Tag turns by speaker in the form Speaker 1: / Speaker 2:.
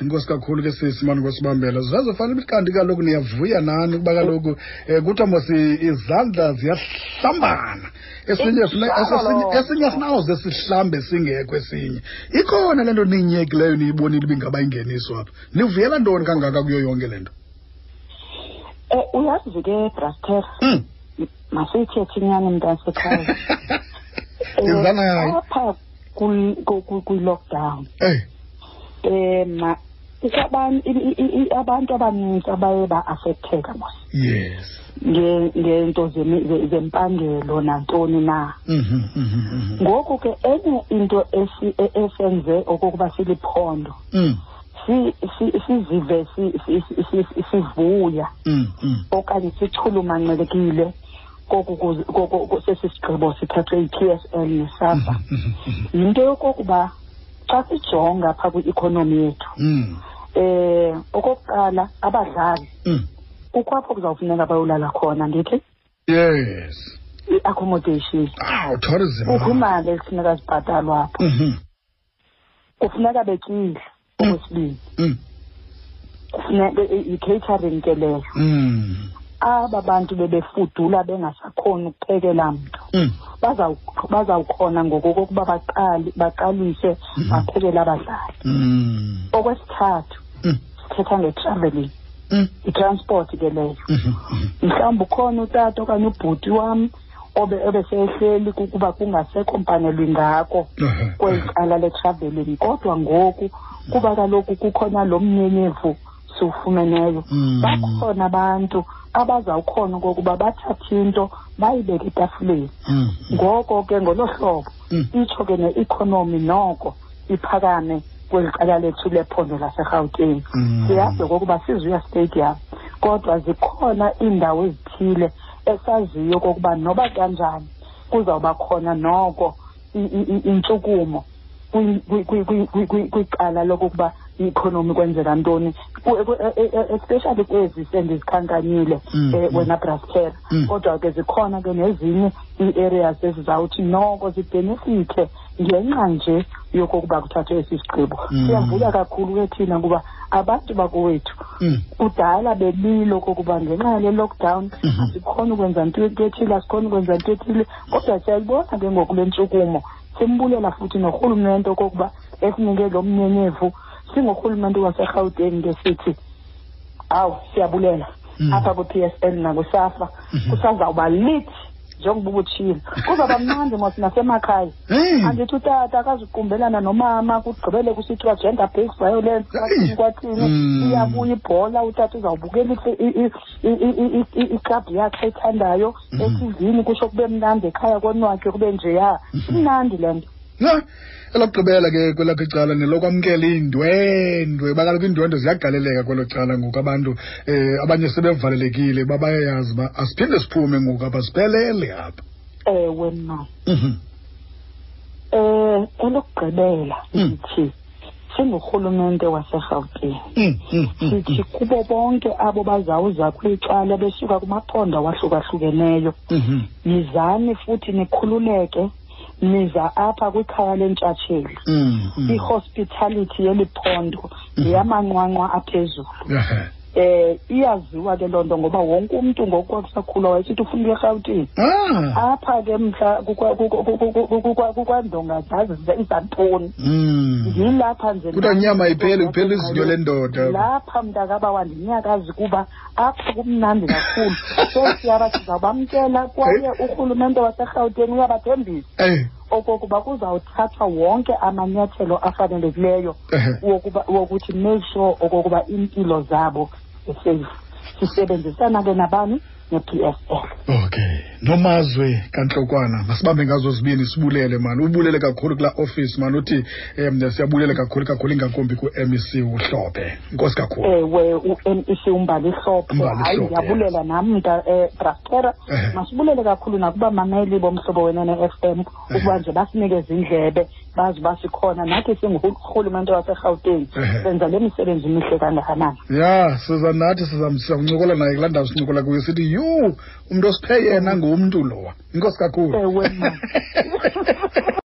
Speaker 1: inkosi kakhulu ke sisimane kwesibambela zazo fanele ukuthi kanti kaloku niyavuya nani ukuba kaloku um kuthiwa mos izandla ziyahlambana esinye fune- esesinye- esinye sinawuze sihlambe singekho esinye ikhona le nto niyiyekileyo niyibonile ibingaba ingeniso apha nivuyela ntoni kangaka kuyo yonke le nto
Speaker 2: Eh, uyazi ke braster
Speaker 1: Hmm.
Speaker 2: masiyithethe inyani mntasekhaya Eh,
Speaker 1: ndizana yayo
Speaker 2: apha kwi- ku- ku- kwi-lockdown
Speaker 1: eyi
Speaker 2: um abantu abaninzi abaye ba-afektheka mos
Speaker 1: yes
Speaker 2: nge- ngento zemi- ze- zempangelo nantoni na
Speaker 1: Mhm, mhm, mhm.
Speaker 2: ngoku ke enye into esi- e- esenze okokuba siliphondo
Speaker 1: Mm,
Speaker 2: si- si- sizive si- si- si- si- sivuya
Speaker 1: mm, mm.
Speaker 2: okanye sichulumancelekile koku kuzi- koku- ko- sesi sigqibo sithathwe yi-tsl nesasa
Speaker 1: Mhm, mhm,
Speaker 2: yinto yokokuba xa sijonga phaa kwi-ikhonomi yethu
Speaker 1: mhm.
Speaker 2: um okokuqala abadlali
Speaker 1: Mm.
Speaker 2: kukwapho kuzawufuneka bayolala khona ndithi
Speaker 1: yes
Speaker 2: i-accommodation
Speaker 1: aw tourism
Speaker 2: kukho imali ezifuneka zibhatalwa apho
Speaker 1: Ah, Mhm,
Speaker 2: kufuneka betyile
Speaker 1: Mm.
Speaker 2: okwesibini
Speaker 1: mm,
Speaker 2: kufuneka yi-catering ke leyo
Speaker 1: mm,
Speaker 2: aba bantu bebefudula bengasakhoni ukuphekela mntu
Speaker 1: mm.
Speaker 2: Bazawuk- bazawukhona ngoku kokuba baqali baqalise
Speaker 1: Mhm.
Speaker 2: baphekele abadlali
Speaker 1: Mm,
Speaker 2: okwesithathu
Speaker 1: mm,
Speaker 2: sithetha nge-traveling
Speaker 1: mm,
Speaker 2: i-transport ke leyo
Speaker 1: mhm, mhm.
Speaker 2: mhlawumbi ukhona utata okanye ubhuti wam obe ebesehleli kukuba kungasekho mpanelo ingako
Speaker 1: Aha,
Speaker 2: kweli
Speaker 1: aha.
Speaker 2: cala le-traveling kodwa ngoku kuba kaloku kukhona lo mnyenyevu siwufumeneyo
Speaker 1: Mm.
Speaker 2: bakhona abantu abazawukhona okokuba bathathe into bayibeke etafuleni
Speaker 1: Mm, mm,
Speaker 2: ngoko ke ngolo hlobo
Speaker 1: mm.
Speaker 2: itsho ke ne-ikhonomi noko iphakame kweli cala lethu lephondo laserhawutini
Speaker 1: Mm.
Speaker 2: siyazi okokuba sizuya stadium kodwa zikhona iindawo ezithile esaziyo okokuba noba kanjani kuzawuba khona noko i- i- i- intshukumo kwi- kwi- kwi- kwi- kwi- kwi- kwicala lokokuba i-ikhonomi kwenzeka ntoni Ku- ku- e- e- e- especially kwezi sendizikhankanyile
Speaker 1: Mm,
Speaker 2: um
Speaker 1: mm.
Speaker 2: wena brastera
Speaker 1: Mm.
Speaker 2: kodwa ke zikhona ke nezinye ii-areas ezizawuthi noko zibhenefithe ngenxa nje yokokuba kuthathwe esi sigqibo
Speaker 1: Mm.
Speaker 2: siyavuya kakhulu ke thina kuba abantu bakowethu
Speaker 1: Mm.
Speaker 2: kudala belilo kokuba ngenxa yale lockdown
Speaker 1: Mhm.
Speaker 2: asikhona ukwenza nto into ethile asikhona ukwenza nto ethile kodwa siyayibona ke ngoku le ntshukumo simbulela futhi norhulumente okokuba esinike lo mnyenyevu singurhulumente waserhawuteni ke sithi awu siyabulela
Speaker 1: Mm.
Speaker 2: apha kwi-p s n nakusafa
Speaker 1: Mhm.
Speaker 2: kusazawuba lithi njengoba ubutshilo kuzawuba mnandi mos nasemakhaya
Speaker 1: Hey.
Speaker 2: andithi utata akazuqumbelana nomama kugqibele kusithiwa gender based violence
Speaker 1: Eyi.
Speaker 2: kwathini kwathini
Speaker 1: Mm.
Speaker 2: iyabuya ibhola utata uzawubukela ife- i- i- i- i- i- i- iklabhu yakhe ethandayo
Speaker 1: Mhm.
Speaker 2: etivini kusho kube mnandi ekhaya konwatywe kube njeya
Speaker 1: Mhm.
Speaker 2: imnandi le nto
Speaker 1: na elokugqibela ke kwelakho icala nelokwamkela iindwendwe uba kaloku iindwendwe ziyagaleleka kwelo cala ngoku abantu um abanye sebevalelekile uba bayayazi uba asiphinde siphume ngoku apha siphelele apha
Speaker 2: ewe mna
Speaker 1: Mhm.
Speaker 2: um elokugqibela
Speaker 1: Mm.
Speaker 2: ndithi singurhulumente waserhawutini
Speaker 1: Mm, mm, mm,
Speaker 2: sithi kubo bonke abo bazawuza kwicala besuka kumaphondo awahlukahlukeneyo
Speaker 1: mhm.
Speaker 2: nizame futhi nikhululeke niza apha kwikhaya lentshatsheli
Speaker 1: Mm, mm.
Speaker 2: i-hospitality yeli phondo
Speaker 1: Mhm.
Speaker 2: yeyamanqwanqwa aphezulu
Speaker 1: Aha.
Speaker 2: um iyaziwa ke loo nto ngoba wonke umntu ngoku kwakusakhula wayesithi ufuna uya erhawutini
Speaker 1: ah
Speaker 2: apha ke mhla kukwa- kukwa- kukwa- kukwa- kukwa- kukwandonga zazi izantoni
Speaker 1: Mm.
Speaker 2: yilapha nje
Speaker 1: Kuthiwa nyama ayipheli, kuphela izinyo lendoda.
Speaker 2: lapha mntakaba wandinyakazi kuba apha kumnandi kakhulu so siyaba sizawubamkela kwaye urhulumente waserhawuteni uyabathembisa
Speaker 1: Eh,
Speaker 2: okokuba kuzawuthathwa wonke amanyathelo afanelekileyo
Speaker 1: eh.
Speaker 2: wokuba- wokuthi make sure okokuba iimpilo zabo ziseyifu sisebenzisana ke nabani ne-p s l
Speaker 1: okay nomazwe kantlokwana masibambe ngazo zibini sibulele mani ubulele kakhulu kulaa office mani uthi um siyabulele kakhulu kakhulu ingakumbi E ku-mec uhlophe nkosi kakhulu
Speaker 2: ewe u-mec umbali hlophe
Speaker 1: Umbali
Speaker 2: hayi
Speaker 1: Hlophe,
Speaker 2: ndiyabulela nam mnta um brastera
Speaker 1: Ehe.
Speaker 2: masibulele kakhulu nakuba mameli bomhlobo wenene-f m ukuba
Speaker 1: Ehe.
Speaker 2: nje basinikeze indlebe bazi uba sikhona nathi singurhulumente waserhawuteni
Speaker 1: Ehe.
Speaker 2: senza le misebenzi mihle kangakanani
Speaker 1: ya siza nathi sizam- sizamncokola naye kulaa ndawo sincokola kuyo sithi yhu umntu osiphe yena ngumntu lowa inkosi kakhulu
Speaker 2: ewe mna